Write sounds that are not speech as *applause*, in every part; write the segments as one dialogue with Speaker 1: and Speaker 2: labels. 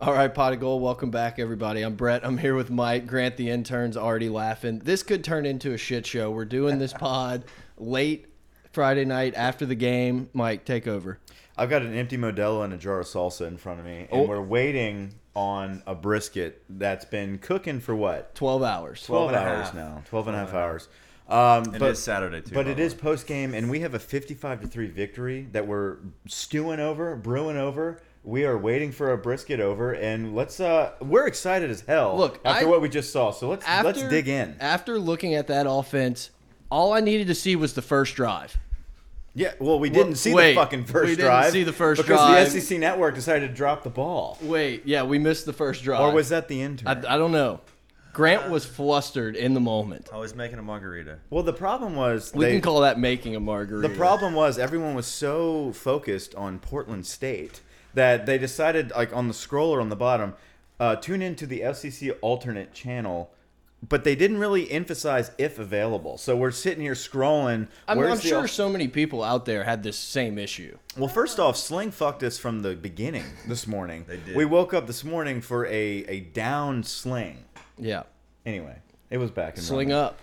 Speaker 1: All right, Pot of Gold, welcome back, everybody. I'm Brett. I'm here with Mike. Grant, the intern's already laughing. This could turn into a shit show. We're doing
Speaker 2: *laughs*
Speaker 1: this pod late Friday night after the game. Mike, take over.
Speaker 2: I've got an empty Modelo and a jar of salsa in front of me, and we're waiting on a brisket that's been cooking for what
Speaker 1: 12 hours.
Speaker 2: 12,
Speaker 3: 12 and a
Speaker 2: hours
Speaker 3: half.
Speaker 2: now, 12 and a half hours. Um,
Speaker 3: It
Speaker 2: but,
Speaker 3: is Saturday, too,
Speaker 2: but
Speaker 3: by
Speaker 2: it
Speaker 3: the
Speaker 2: is
Speaker 3: way.
Speaker 2: post game, and we have a fifty-five to three victory that we're stewing over, brewing over. We are waiting for a brisket over, and let's. uh We're excited as hell.
Speaker 1: Look,
Speaker 2: after
Speaker 1: I-
Speaker 2: what we just saw, so let's let's dig in.
Speaker 1: After looking at that offense, all I needed to see was the first drive.
Speaker 2: Yeah, well, we didn't see
Speaker 1: wait,
Speaker 2: the fucking first
Speaker 1: we didn't
Speaker 2: drive.
Speaker 1: see the first
Speaker 2: because
Speaker 1: drive.
Speaker 2: the SEC network decided to drop the ball,
Speaker 1: Wait, yeah, we missed the first drive.
Speaker 2: or was that the intern?
Speaker 1: I, I don't know. Grant was flustered in the moment.
Speaker 3: I was making a margarita.
Speaker 2: Well, the problem was
Speaker 1: We
Speaker 2: they,
Speaker 1: can call that making a margarita.
Speaker 2: the problem was everyone was so focused on Portland State that they decided, like on the scroller on the bottom, uh, tune into the FCC alternate channel. But they didn't really emphasize if available. So we're sitting here scrolling.
Speaker 1: I'm,
Speaker 2: where's
Speaker 1: I'm
Speaker 2: the
Speaker 1: sure
Speaker 2: al-
Speaker 1: so many people out there had this same issue.
Speaker 2: Well, first off, Sling fucked us from the beginning this morning.
Speaker 3: They did.
Speaker 2: We woke up this morning for a, a down Sling.
Speaker 1: Yeah,
Speaker 2: Anyway, it was back and
Speaker 1: sling
Speaker 2: running.
Speaker 1: up.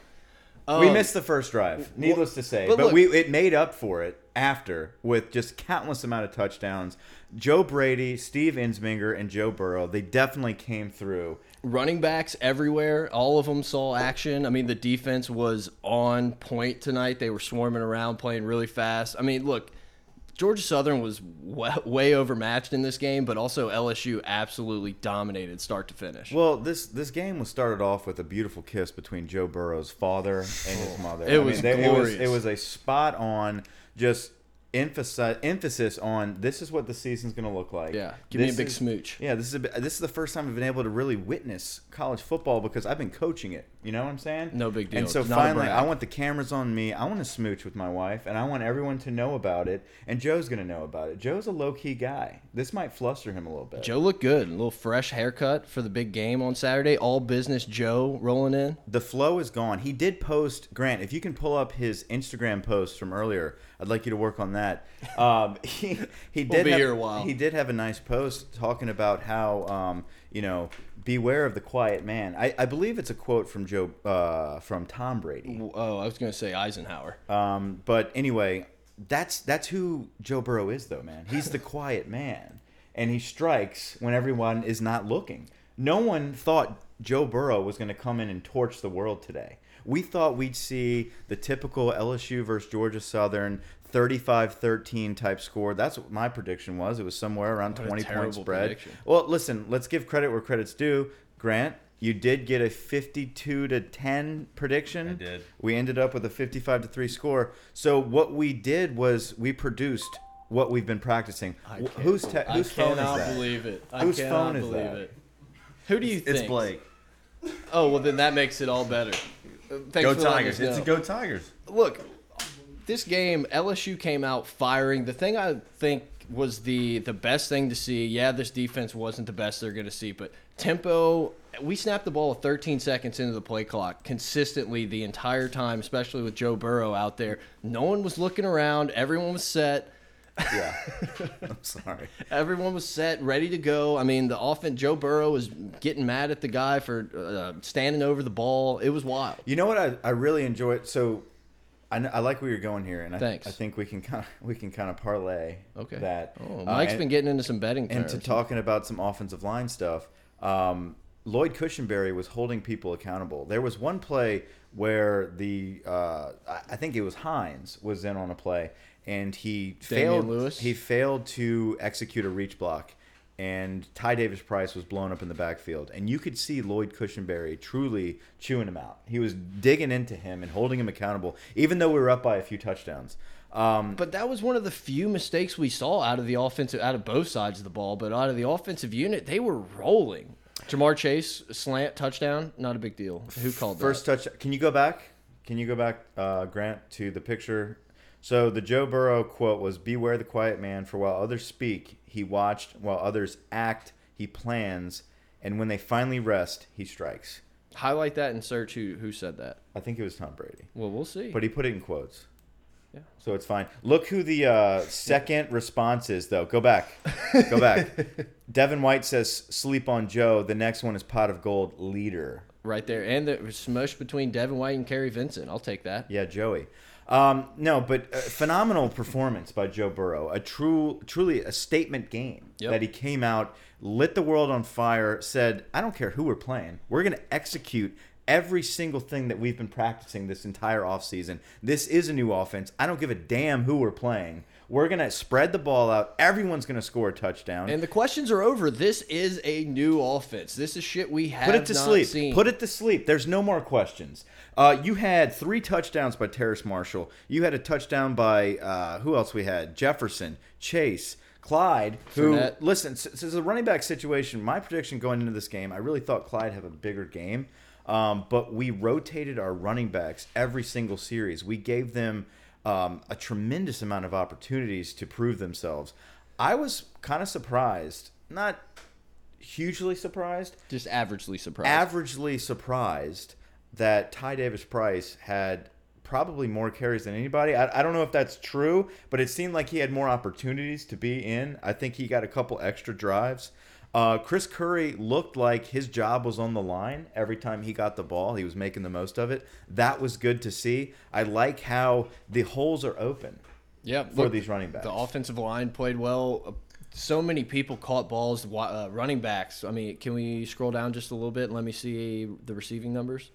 Speaker 2: we
Speaker 1: Um,
Speaker 2: missed the first drive, needless to say,
Speaker 1: but
Speaker 2: but,
Speaker 1: look-
Speaker 2: we it made up for it after with just countless amount of touchdowns. Joe Brady, Steve Insminger, and Joe Burrow they definitely came through.
Speaker 1: running backs everywhere. All of them saw action. I mean, the defense was on point tonight. They were swarming around, playing really fast. I mean, look, Georgia Southern was way, way overmatched in this game, but also LSU absolutely dominated start to finish.
Speaker 2: Well, this this game was started off with a beautiful kiss between Joe Burrow's father and his mother.
Speaker 1: Oh. It was
Speaker 2: it was
Speaker 1: glorious.
Speaker 2: it was a spot on just emphasis emphasis on this is what the season's going to look like.
Speaker 1: Yeah, give me
Speaker 2: This
Speaker 1: a big
Speaker 2: is-
Speaker 1: smooch.
Speaker 2: Yeah, this is a, bi- this is the first time I've been able to really witness college football because I've been coaching it. You know what I'm saying?
Speaker 1: No big deal.
Speaker 2: And so
Speaker 1: It's not a
Speaker 2: finally,
Speaker 1: brag.
Speaker 2: I want the cameras on me. I want to smooch with my wife, and I want everyone to know about it. And Joe's going to know about it. Joe's a low key guy. This might fluster him a little bit.
Speaker 1: Joe looked good. A little fresh haircut for the big game on Saturday. All business Joe rolling in.
Speaker 2: the flow is gone. He did post Grant. If you can pull up his Instagram post from earlier, I'd like you to work on
Speaker 1: *laughs*
Speaker 2: that. Um, he he did
Speaker 1: be
Speaker 2: have,
Speaker 1: here a while.
Speaker 2: He did have a nice post talking about how um, you know beware of the quiet man. I, I believe it's a quote from Joe uh, from Tom Brady.
Speaker 1: Oh, I was going to say Eisenhower.
Speaker 2: Um, but anyway, that's that's who Joe Burrow is, though, man. He's
Speaker 1: *laughs*
Speaker 2: the quiet man, and he strikes when everyone is not looking. No one thought Joe Burrow was going to come in and torch the world today. We thought we'd see the typical LSU versus Georgia Southern 35-13 type score. That's what my prediction was. It was somewhere around
Speaker 1: What a
Speaker 2: 20
Speaker 1: terrible
Speaker 2: point spread.
Speaker 1: prediction.
Speaker 2: Well, listen, let's give credit where credit's due. Grant, you did get a 52 to 10 prediction.
Speaker 3: I did.
Speaker 2: We ended up with a 55 to 3 score. So what we did was we produced what we've been practicing. Wh- Whose te-
Speaker 1: I
Speaker 2: whose phone is
Speaker 1: cannot
Speaker 2: that?
Speaker 1: believe it. I
Speaker 2: Whose
Speaker 1: cannot
Speaker 2: phone is
Speaker 1: believe
Speaker 2: that?
Speaker 1: it. Who do you think?
Speaker 3: It's Blake.
Speaker 1: Oh well, then that makes it all better. Uh, Thanks
Speaker 3: Go
Speaker 1: for letting
Speaker 3: Tigers.
Speaker 1: us
Speaker 3: It's a
Speaker 1: know.
Speaker 3: go Tigers.
Speaker 1: Look, this game LSU came out firing. The thing I think was the the best thing to see. Yeah, this defense wasn't the best they're going to see, but tempo. We snapped the ball 13 seconds into the play clock consistently the entire time, especially with Joe Burrow out there. No one was looking around. Everyone was set.
Speaker 2: Yeah. *laughs* I'm sorry.
Speaker 1: Everyone was set, ready to go. I mean, the offense. Joe Burrow was getting mad at the guy for uh, standing over the ball. It was wild.
Speaker 2: You know what I, I really enjoy? So I, kn- I like where you're going here and I,
Speaker 1: Thanks.
Speaker 2: I think we can kind of, we can kind of parlay
Speaker 1: Okay.
Speaker 2: that.
Speaker 1: Oh,
Speaker 2: Uh,
Speaker 1: Mike's
Speaker 2: and-
Speaker 1: been getting into some betting
Speaker 2: and
Speaker 1: terms.
Speaker 2: to talking about some offensive line stuff, um, Lloyd Cushenberry was holding people accountable. There was one play where the uh, I I think it was Hines was in on a play, and he
Speaker 1: Damian
Speaker 2: failed.
Speaker 1: Lewis?
Speaker 2: He failed to execute a reach block, and Ty Davis Price was blown up in the backfield, and you could see Lloyd Cushenberry truly chewing him out. He was digging into him and holding him accountable, even though we were up by a few touchdowns. Um,
Speaker 1: but that was one of the few mistakes we saw out of the offensive, out of both sides of the ball, but out of the offensive unit, they were rolling. Jamar Chase slant touchdown, not a big deal. Who called that?
Speaker 2: First touch. Can you go back? Can you go back, uh, Grant, to the picture? So the Joe Burrow quote was Beware the quiet man, for while others speak, he watched, while others act, he plans, and when they finally rest, he strikes.
Speaker 1: Highlight that and search who who said that.
Speaker 2: I think it was Tom Brady.
Speaker 1: Well, we'll see.
Speaker 2: But he put it in quotes.
Speaker 1: Yeah.
Speaker 2: So it's fine. Look who the uh, second response is, though. Go back. Go back. Devin White says, sleep on Joe. The next one is Pot of Gold leader.
Speaker 1: Right there. And the smush between Devin White and Kerry Vincent. I'll take that.
Speaker 2: Yeah, Joey. Um, no, but uh, phenomenal performance by Joe Burrow. A true, truly a statement game
Speaker 1: Yep.
Speaker 2: that he came out, lit the world on fire, said, "I don't care who we're playing. We're going to execute every single thing that we've been practicing this entire offseason. This is a new offense. I don't give a damn who we're playing. We're going to spread the ball out. Everyone's going to score a touchdown.
Speaker 1: And the questions are over. This is a new offense. This is shit we have
Speaker 2: Put it to
Speaker 1: not
Speaker 2: sleep.
Speaker 1: seen.
Speaker 2: Put it to sleep. There's no more questions. Uh, you had three touchdowns by Terrace Marshall. You had a touchdown by uh, who else? We had Jefferson, Chase, Clyde. Who
Speaker 1: Fournette.
Speaker 2: listen? s- Since the running back situation, my prediction going into this game, I really thought Clyde have a bigger game. Um, but we rotated our running backs every single series. We gave them um, a tremendous amount of opportunities to prove themselves. I was kind of surprised, not hugely surprised,
Speaker 1: Just averagely surprised.
Speaker 2: averagely surprised that Ty Davis Price had probably more carries than anybody. I, I don't know if that's true, but it seemed like he had more opportunities to be in. I think he got a couple extra drives. Uh, Chris Curry looked like his job was on the line every time he got the ball. He was making the most of it. That was good to see. I like how the holes are open.
Speaker 1: Yep.
Speaker 2: for these running backs.
Speaker 1: The offensive line played well. Uh, So many people caught balls. wi- Uh, running backs. I mean, can we scroll down just a little bit and let me see the receiving numbers?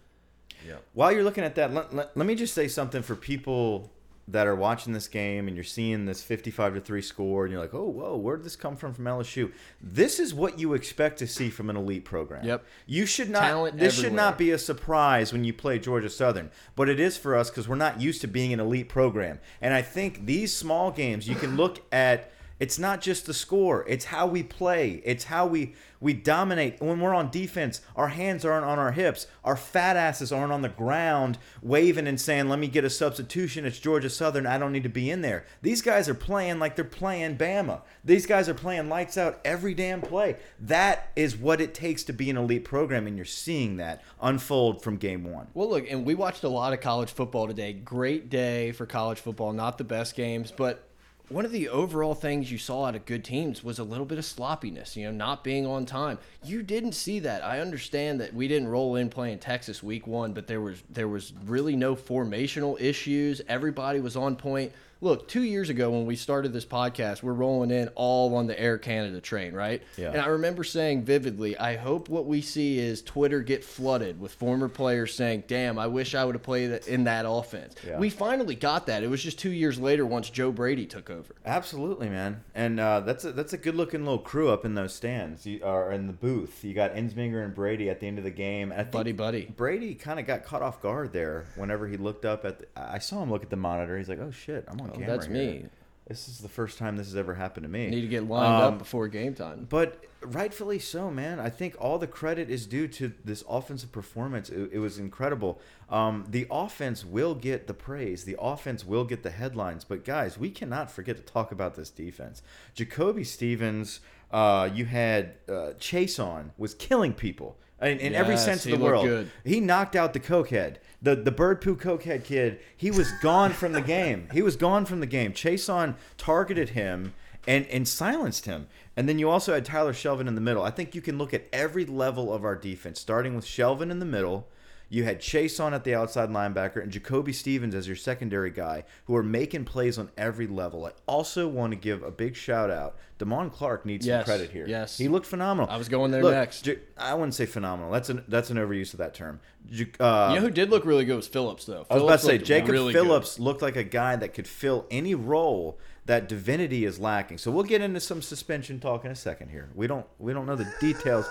Speaker 2: While you're looking at that, let, let, let me just say something for people that are watching this game and you're seeing this 55 to 3 score and you're like, "Oh, whoa, where did this come from from LSU?" This is what you expect to see from an elite program.
Speaker 1: Yep.
Speaker 2: You should not
Speaker 1: Talent
Speaker 2: this should
Speaker 1: everywhere.
Speaker 2: not be a surprise when you play Georgia Southern, but it is for us cuz we're not used to being an elite program. And I think these small games, you can look at it's not just the score it's how we play it's how we we dominate when we're on defense our hands aren't on our hips our fat asses aren't on the ground waving and saying let me get a substitution it's georgia southern i don't need to be in there these guys are playing like they're playing bama these guys are playing lights out every damn play that is what it takes to be an elite program and you're seeing that unfold from game one
Speaker 1: Well, look, and we watched a lot of college football today. Great day for college football. Not the best games, but one of the overall things you saw out of good teams was a little bit of sloppiness, you know, not being on time. You didn't see that. I understand that we didn't roll in playing Texas week 1, but there was there was really no formational issues. Everybody was on point. Look, 2 years ago when we started this podcast, we're rolling in all on the Air Canada train, right?
Speaker 2: Yeah.
Speaker 1: And I remember saying vividly, I hope what we see is Twitter get flooded with former players saying, "Damn, I wish I would have played in that offense."
Speaker 2: Yeah.
Speaker 1: We finally got that. It was just two years later once Joe Brady took over.
Speaker 2: Absolutely, man. And uh, that's a, that's a good looking little crew up in those stands. You are in the booth. You got Ensminger and Brady at the end of the game. And I think
Speaker 1: Buddy, buddy.
Speaker 2: Brady kind of got caught off guard there whenever he looked up at. The, I saw him look at the monitor. He's like, "Oh shit, I'm on camera."
Speaker 1: that's
Speaker 2: here.
Speaker 1: me.
Speaker 2: This is the first time this has ever happened to me.
Speaker 1: Need to get lined
Speaker 2: Um,
Speaker 1: up before game time.
Speaker 2: but rightfully so, man. I think all the credit is due to this offensive performance. It, it was incredible. Um, the offense will get the praise. The offense will get the headlines. But guys, we cannot forget to talk about this defense. Jacoby Stevens, uh, you had uh, Chase on was killing people. In, in every
Speaker 1: Yes,
Speaker 2: sense of
Speaker 1: he
Speaker 2: the
Speaker 1: looked
Speaker 2: world,
Speaker 1: good.
Speaker 2: he knocked out the cokehead, the the bird poo cokehead kid. He was gone from the game. He was gone from the game. Chase on targeted him and and silenced him. And then you also had Tyler Shelvin in the middle. I think you can look at every level of our defense, starting with Shelvin in the middle. You had Chase on at the outside linebacker and Jacoby Stevens as your secondary guy, who are making plays on every level. I also want to give a big shout out. Damon Clark needs some
Speaker 1: Yes,
Speaker 2: credit here.
Speaker 1: yes.
Speaker 2: he looked phenomenal.
Speaker 1: I was going there
Speaker 2: Look,
Speaker 1: next.
Speaker 2: J- I wouldn't say phenomenal. That's an that's an overuse of that term. J- uh,
Speaker 1: you know who did look really good was Phillips though.
Speaker 2: I was about
Speaker 1: Phillips
Speaker 2: to say
Speaker 1: looked
Speaker 2: Jacob
Speaker 1: really good.
Speaker 2: Phillips looked like a guy that could fill any role that divinity is lacking. So we'll get into some suspension talk in a second here. We don't we don't know the details,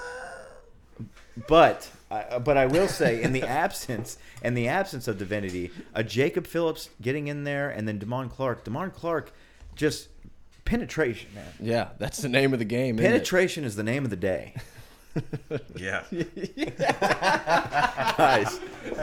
Speaker 2: but I, but I will say
Speaker 1: *laughs*
Speaker 2: in the absence in the absence of divinity, a Jacob Phillips getting in there and then Demond Clark. Demond Clark just penetration, man.
Speaker 1: Yeah, that's the name of the game. isn't it?
Speaker 2: Penetration is the name of the day. *laughs*
Speaker 3: Yeah.
Speaker 2: guys,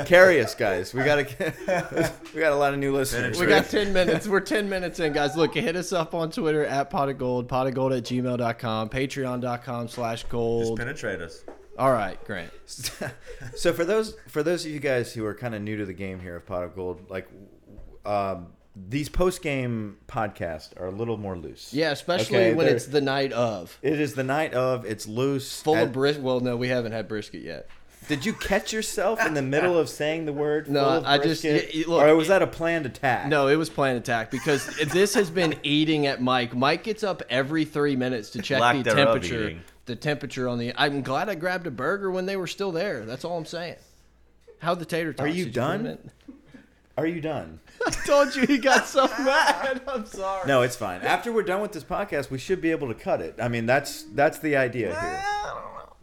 Speaker 2: carry us, guys. We gotta *laughs* we got a lot of new listeners.
Speaker 1: We got 10
Speaker 2: *laughs*
Speaker 1: minutes. We're 10 minutes in, guys. Look, hit us up on Twitter at pot of gold, pot of gold at gmail.com, patreon.com slash
Speaker 3: Just
Speaker 1: gold.
Speaker 3: penetrate us.
Speaker 1: All right, Grant.
Speaker 2: *laughs* so for those for those of you guys who are kind of new to the game here of Pot of Gold, like um, these post game podcasts are a little more loose.
Speaker 1: Yeah, especially
Speaker 2: Okay,
Speaker 1: when
Speaker 2: they're-
Speaker 1: it's the night of.
Speaker 2: It is the night of. It's loose.
Speaker 1: Full
Speaker 2: Uh,
Speaker 1: of brisket. Well, no, we haven't had brisket yet.
Speaker 2: Did you catch yourself in the middle of saying the word?
Speaker 1: No,
Speaker 2: full of
Speaker 1: I just-
Speaker 2: brisket?
Speaker 1: y- y- look,
Speaker 2: or was that a planned attack?
Speaker 1: No, it was planned attack because *laughs* this has been eating at Mike. Mike gets up every three minutes to check
Speaker 3: Lack
Speaker 1: the
Speaker 3: thereof
Speaker 1: temperature.
Speaker 3: eating.
Speaker 1: The temperature on the. I'm glad I grabbed a burger when they were still there. That's all I'm saying. How the tater tots?
Speaker 2: Are you
Speaker 1: Did put 'em
Speaker 2: done?
Speaker 1: in?
Speaker 2: Are you done?
Speaker 1: *laughs* I told you he got so *laughs* mad. I'm sorry.
Speaker 2: No, it's fine. After we're done with this podcast, we should be able to cut it. I mean, that's that's the idea here.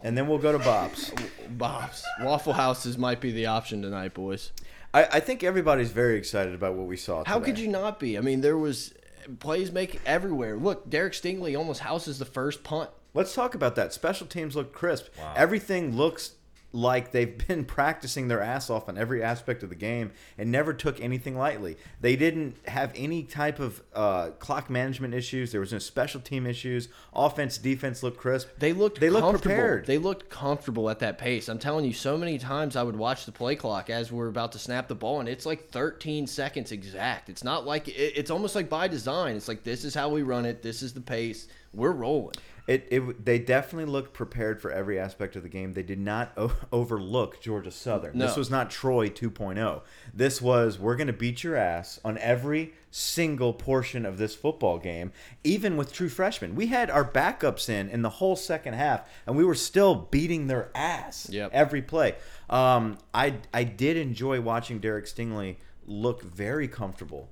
Speaker 2: And then we'll go to Bob's.
Speaker 1: Bob's Waffle Houses might be the option tonight, boys.
Speaker 2: I, I think everybody's very excited about what we saw.
Speaker 1: How
Speaker 2: today.
Speaker 1: could you not be? I mean, there was plays make everywhere. Look, Derek Stingley almost houses the first punt.
Speaker 2: Let's talk about that. Special teams look crisp.
Speaker 3: Wow.
Speaker 2: Everything looks like they've *laughs* been practicing their ass off on every aspect of the game and never took anything lightly. They didn't have any type of uh, clock management issues. There was no special team issues. Offense, defense looked crisp.
Speaker 1: They looked
Speaker 2: They looked
Speaker 1: comfortable.
Speaker 2: prepared.
Speaker 1: They looked comfortable at that pace. I'm telling you, so many times I would watch the play clock as we're about to snap the ball, and it's like 13 seconds exact. It's not like it, it's almost like by design. It's like this is how we run it. This is the pace. We're rolling.
Speaker 2: It, it they definitely looked prepared for every aspect of the game. They did not o- *laughs* overlook Georgia Southern.
Speaker 1: No.
Speaker 2: This was not Troy 2.0. This was we're going to beat your ass on every single portion of this football game, even with true freshmen. We had our backups in in the whole second half, and we were still beating their ass
Speaker 1: Yep.
Speaker 2: every play. Um, I I did enjoy watching Derek Stingley look very comfortable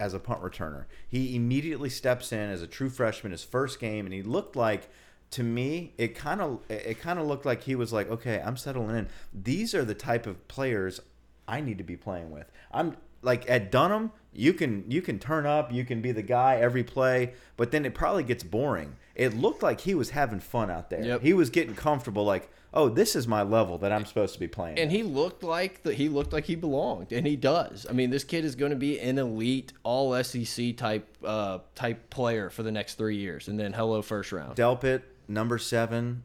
Speaker 2: as a punt returner. He immediately steps in as a true freshman, his first game, and he looked like to me it kind of it kind of looked like he was like, okay, I'm settling in. These are the type of players I need to be playing with. I'm like at Dunham, you can you can turn up, you can be the guy every play, but then it probably gets boring. It looked like he was having fun out there.
Speaker 1: Yep.
Speaker 2: He was getting comfortable, like, oh, this is my level that I'm supposed to be playing.
Speaker 1: And
Speaker 2: at."
Speaker 1: he looked like the, he looked like he belonged, and he does. I mean, this kid is going to be an elite All SEC type uh, type player for the next three years, and then hello first round.
Speaker 2: Delpit, number seven,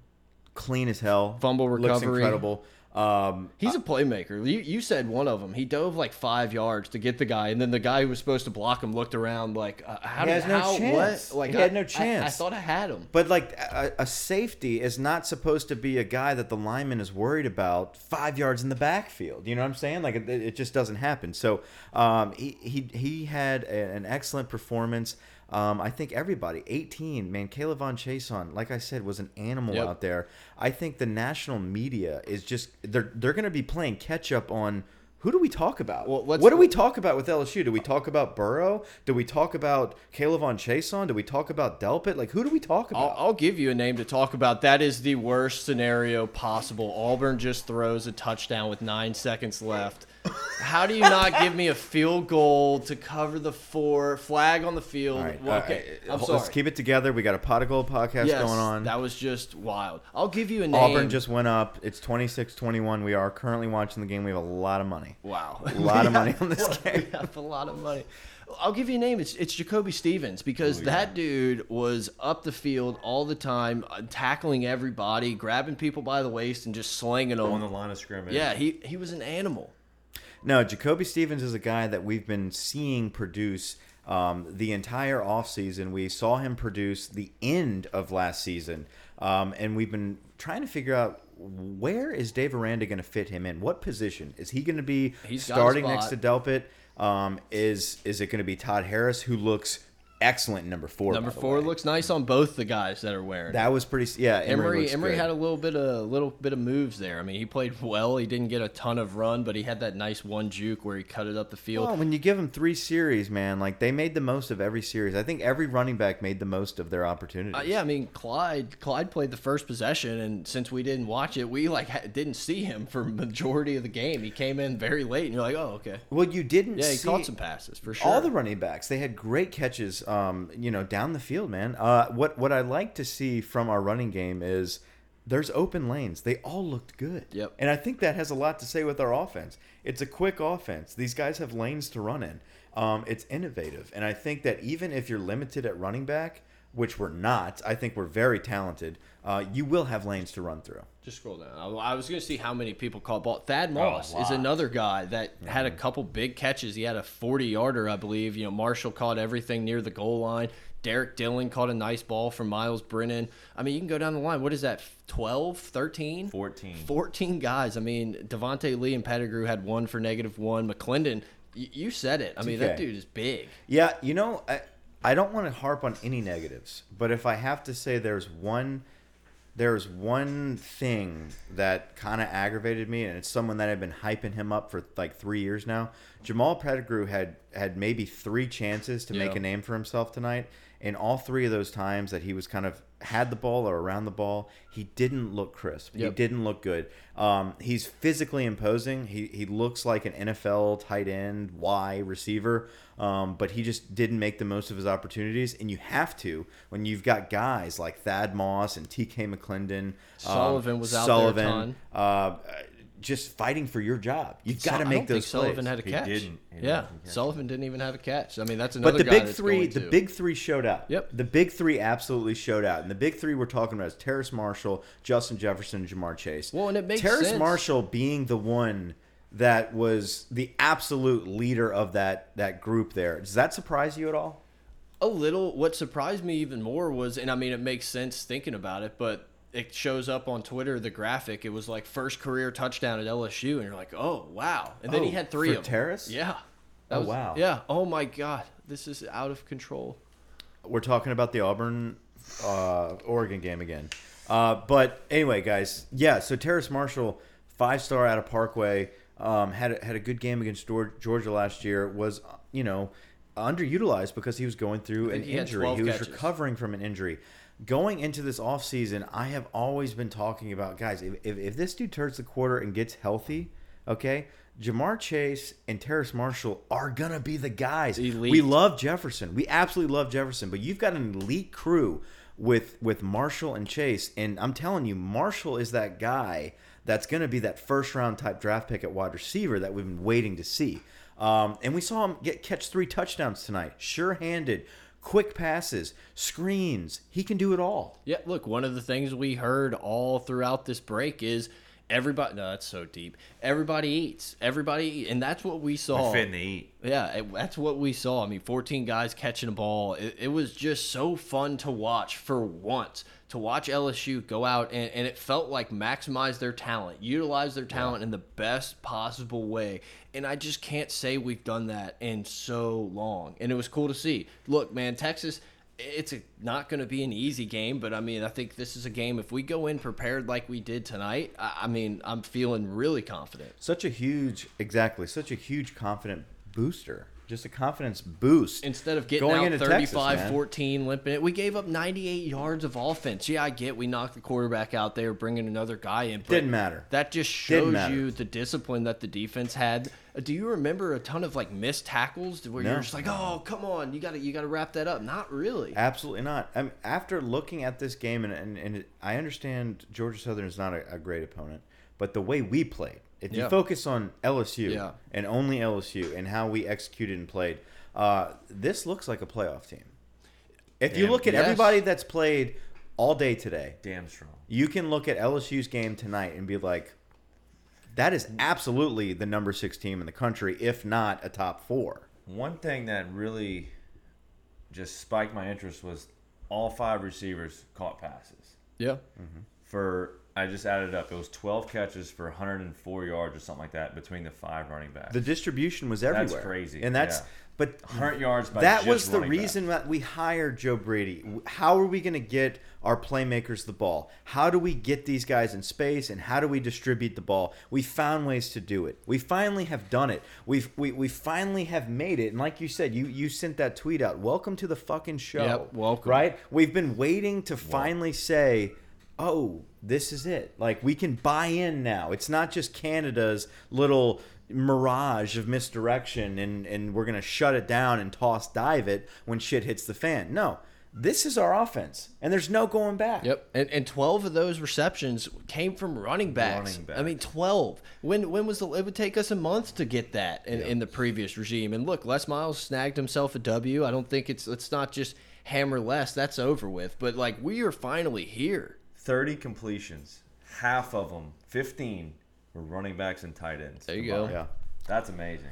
Speaker 2: clean as hell.
Speaker 1: Fumble
Speaker 2: Looks
Speaker 1: recovery.
Speaker 2: incredible. Um,
Speaker 1: He's a playmaker. You, you said one of them. He dove like five yards to get the guy, and then the guy who was supposed to block him looked around like, uh, "How
Speaker 2: He
Speaker 1: did
Speaker 2: has no
Speaker 1: how
Speaker 2: chance.
Speaker 1: what?" Like
Speaker 2: He
Speaker 1: I,
Speaker 2: had no
Speaker 1: I- I,
Speaker 2: chance.
Speaker 1: thought I had him.
Speaker 2: but like a, a safety is not supposed to be a guy that the lineman is worried about five yards in the backfield. You know what I'm saying? Like it, it just doesn't happen. So um, he, he he had a- an excellent performance. Um, I think everybody, 18 man, Caleb Von Chason, like I said, was an animal
Speaker 1: Yep.
Speaker 2: out there. I think the national media is just they're they're going to be playing catch up on. Who do we talk about?
Speaker 1: Well, let's-
Speaker 2: what do we talk about with LSU? Do we talk about Burrow? Do we talk about Caleb on Chason? Do we talk about Delpit? Like, who do we talk about?
Speaker 1: I'll, I'll give you a name to talk about. That is the worst scenario possible. Auburn just throws a touchdown with nine seconds left. How do you not give me a field goal to cover the four? Flag on the field.
Speaker 2: All right,
Speaker 1: Well,
Speaker 2: all
Speaker 1: okay,
Speaker 2: right.
Speaker 1: I'm
Speaker 2: Hold-
Speaker 1: sorry.
Speaker 2: Let's keep it together. We got a pot of gold podcast
Speaker 1: Yes,
Speaker 2: going on.
Speaker 1: That was just wild. I'll give you a name.
Speaker 2: Auburn just went up. It's 26-21. We are currently watching the game. We have a lot of money.
Speaker 1: *laughs* Wow.
Speaker 2: A
Speaker 1: *laughs*
Speaker 2: lot of money on this
Speaker 1: We
Speaker 2: game.
Speaker 1: have a lot of money. I'll give you a name. It's it's Jacoby Stevens because
Speaker 2: Oh,
Speaker 1: that dude was up the field all the time, uh, tackling everybody, grabbing people by the waist, and just slinging
Speaker 3: On the
Speaker 1: them.
Speaker 3: line of scrimmage.
Speaker 1: Yeah, he he was an animal.
Speaker 2: No, Jacoby Stevens is a guy that we've been seeing produce um, the entire offseason. We saw him produce the end of last season, um, and we've been trying to figure out where is Dave Aranda going to fit him in? What position is he going to be
Speaker 1: He's got a
Speaker 2: starting
Speaker 1: spot.
Speaker 2: next to Delpit? Um, is is it going to be Todd Harris who looks excellent in number four?
Speaker 1: Number
Speaker 2: by the
Speaker 1: four
Speaker 2: way?
Speaker 1: looks nice on both the guys that are wearing. it.
Speaker 2: that was pretty. Yeah, Emory.
Speaker 1: Emory
Speaker 2: looks
Speaker 1: Emory
Speaker 2: good.
Speaker 1: had a little bit of little bit of moves there. I mean, he played well. He didn't get a ton of run, but he had that nice one juke where he cut it up the field.
Speaker 2: Well, when you give them three series, man, like they made the most of every series. I think every running back made the most of their opportunities.
Speaker 1: Uh, yeah, I mean Clyde. Clyde played the first possession, and since we didn't watch it, we like ha didn't see him for majority of the game. He came in very late, and you're like, oh, okay.
Speaker 2: Well, you didn't.
Speaker 1: Yeah, he
Speaker 2: see
Speaker 1: caught some passes for sure.
Speaker 2: All the running backs, they had great catches. Um, you know, down the field, man. Uh, what what I like to see from our running game is there's open lanes. They all looked good.
Speaker 1: Yep.
Speaker 2: And I think that has a lot to say with our offense. It's a quick offense. These guys have lanes to run in. Um, it's innovative, and I think that even if you're limited at running back. which we're not. I think we're very talented. Uh, you will have lanes to run through.
Speaker 1: Just scroll down. I, I was going to see how many people caught ball. Thad
Speaker 2: Oh,
Speaker 1: Moss is another guy that had a
Speaker 2: Mm-hmm.
Speaker 1: couple big catches. He had a 40 yarder, I believe. You know, Marshall caught everything near the goal line. Derek Dillon caught a nice ball from Miles Brennan. I mean, you can go down the line. What is that? 12, 13?
Speaker 3: 14.
Speaker 1: 14 guys. I mean, Devontae Lee and Pettigrew had one for negative one. McClendon, y- you said it. I mean, that
Speaker 2: TK.
Speaker 1: dude is big.
Speaker 2: Yeah, you know, I, I don't want to harp on any negatives, but if I have to say there's one there's one thing that kind of aggravated me and it's someone that I've been hyping him up for like 3 years now. Jamal Pettigrew had had maybe 3 chances to make
Speaker 1: Yeah.
Speaker 2: a name for himself tonight and all 3 of those times that he was kind of had the ball or around the ball, he didn't look crisp. He
Speaker 1: Yep.
Speaker 2: didn't look good. Um, he's physically imposing. He, he looks like an NFL tight end, Y receiver, um, but he just didn't make the most of his opportunities. And you have to when you've got guys like Thad Moss and TK McClendon. um,
Speaker 1: Sullivan was out there a ton.
Speaker 2: uh, just fighting for your job. You've got to
Speaker 1: I
Speaker 2: make
Speaker 1: don't
Speaker 2: those
Speaker 1: think Sullivan
Speaker 2: plays.
Speaker 1: had a
Speaker 3: He
Speaker 1: catch.
Speaker 3: didn't. He didn't
Speaker 1: yeah,
Speaker 3: have a catch.
Speaker 1: Sullivan didn't even have a catch. I mean, that's another.
Speaker 2: But the
Speaker 1: guy
Speaker 2: big
Speaker 1: that's
Speaker 2: three,
Speaker 1: going
Speaker 2: the
Speaker 1: to.
Speaker 2: big three showed out.
Speaker 1: Yep.
Speaker 2: The big three absolutely showed out, and the big three we're talking about is Terrace Marshall, Justin Jefferson, and Jamar Chase.
Speaker 1: Well, and it makes
Speaker 2: Terrace
Speaker 1: sense.
Speaker 2: Marshall being the one that was the absolute leader of that that group there. Does that surprise you at all?
Speaker 1: a little. What surprised me even more was, and I mean, it makes sense thinking about it, but it shows up on Twitter the graphic. It was like first career touchdown at LSU, and you're like, oh wow, and then
Speaker 2: Oh,
Speaker 1: he had three
Speaker 2: for
Speaker 1: of them.
Speaker 2: Terrace?
Speaker 1: Yeah. That
Speaker 2: Oh,
Speaker 1: was-
Speaker 2: wow.
Speaker 1: Yeah. Oh my God, this is out of control.
Speaker 2: We're talking about the Auburn uh, Oregon game again. Uh, but anyway, guys, yeah. So Terrace Marshall, five star out of Parkway, um, had a, had a good game against Geor- Georgia last year. Was you know underutilized because he was going through an
Speaker 1: think he had
Speaker 2: injury.
Speaker 1: 12
Speaker 2: He was
Speaker 1: catches.
Speaker 2: recovering from an injury. Going into this offseason, I have always been talking about guys. If, if, if this dude turns the quarter and gets healthy, okay. Jamar Chase and Terrace Marshall are gonna be the guys.
Speaker 1: Elite.
Speaker 2: We love Jefferson. We absolutely love Jefferson, but you've got an elite crew with with Marshall and Chase, and I'm telling you, Marshall is that guy that's going to be that first round type draft pick at wide receiver that we've been waiting to see. Um, and we saw him get catch three touchdowns tonight, sure handed, quick passes, screens. He can do it all.
Speaker 1: Yeah, look, one of the things we heard all throughout this break is everybody. No, that's so deep. Everybody eats. Everybody, eat. and that's what we saw.
Speaker 3: Fitting to eat.
Speaker 1: Yeah, it, that's what we saw. I mean, 14 guys catching a ball. It, it was just so fun to watch for once. To watch LSU go out and, and it felt like maximize their talent, utilize their talent in the best possible way. And I just can't say we've done that in so long. And it was cool to see. Look, man, Texas, it's a, not going to be an easy game, but I mean, I think this is a game. If we go in prepared like we did tonight, I, I mean, I'm feeling really confident.
Speaker 2: Such a huge, exactly, such a huge confident booster. Just a confidence boost.
Speaker 1: instead of getting
Speaker 2: Going
Speaker 1: out
Speaker 2: into Texas,
Speaker 1: 35
Speaker 2: man.
Speaker 1: 14 limping it we gave up 98 yards of offense yeah i get we knocked the quarterback out there bringing another guy in but
Speaker 2: Didn't matter.
Speaker 1: that just
Speaker 2: Didn't
Speaker 1: shows
Speaker 2: matter.
Speaker 1: you the discipline that the defense had Uh, do you remember a ton of like missed tackles where you're
Speaker 2: No.
Speaker 1: just like oh come on you gotta you gotta wrap that up not really
Speaker 2: Absolutely not. I mean, after looking at this game, and, and, and I understand Georgia Southern is not a, a great opponent, but the way we played, if you
Speaker 1: Yeah.
Speaker 2: focus on LSU
Speaker 1: Yeah.
Speaker 2: and only LSU and how we executed and played, uh, this looks like a playoff team. If you
Speaker 3: Damn,
Speaker 2: look at
Speaker 1: yes.
Speaker 2: everybody that's played all day today,
Speaker 3: Damn strong.
Speaker 2: you can look at LSU's game tonight and be like, that is absolutely the number six team in the country, if not a top four.
Speaker 3: One thing that really just spiked my interest was all five receivers caught passes.
Speaker 1: yeah
Speaker 3: For I just added up, it was 12 catches for 104 yards or something like that between the five running backs.
Speaker 2: The distribution was everywhere.
Speaker 3: crazy,
Speaker 2: and that's
Speaker 3: yeah.
Speaker 2: but
Speaker 3: 100 yards by
Speaker 2: that
Speaker 3: just
Speaker 2: was the
Speaker 3: running back.
Speaker 2: reason that we hired Joe Brady. How are we going to get our playmakers the ball? How do we get these guys in space and how do we distribute the ball? We found ways to do it. We finally have done it. We've we, we finally have made it. And like you said, you you sent that tweet out. Welcome to the fucking show.
Speaker 1: Yep, welcome.
Speaker 2: Right? We've been waiting to finally say Oh, this is it. Like we can buy in now. It's not just Canada's little mirage of misdirection and and we're going to shut it down and toss dive it when shit hits the fan. No. This is our offense and there's no going back.
Speaker 1: Yep, and, and twelve of those receptions came from running backs.
Speaker 3: Running backs.
Speaker 1: I mean, twelve. When when was the? It would take us a month to get that in, in the previous regime. And look, Les Miles snagged himself a W. I don't think it's. Let's not just hammer less, that's over with. But like we are finally here.
Speaker 3: 30 completions, half of them, 15 were running backs and tight ends.
Speaker 1: There you go.
Speaker 2: Yeah.
Speaker 3: That's amazing.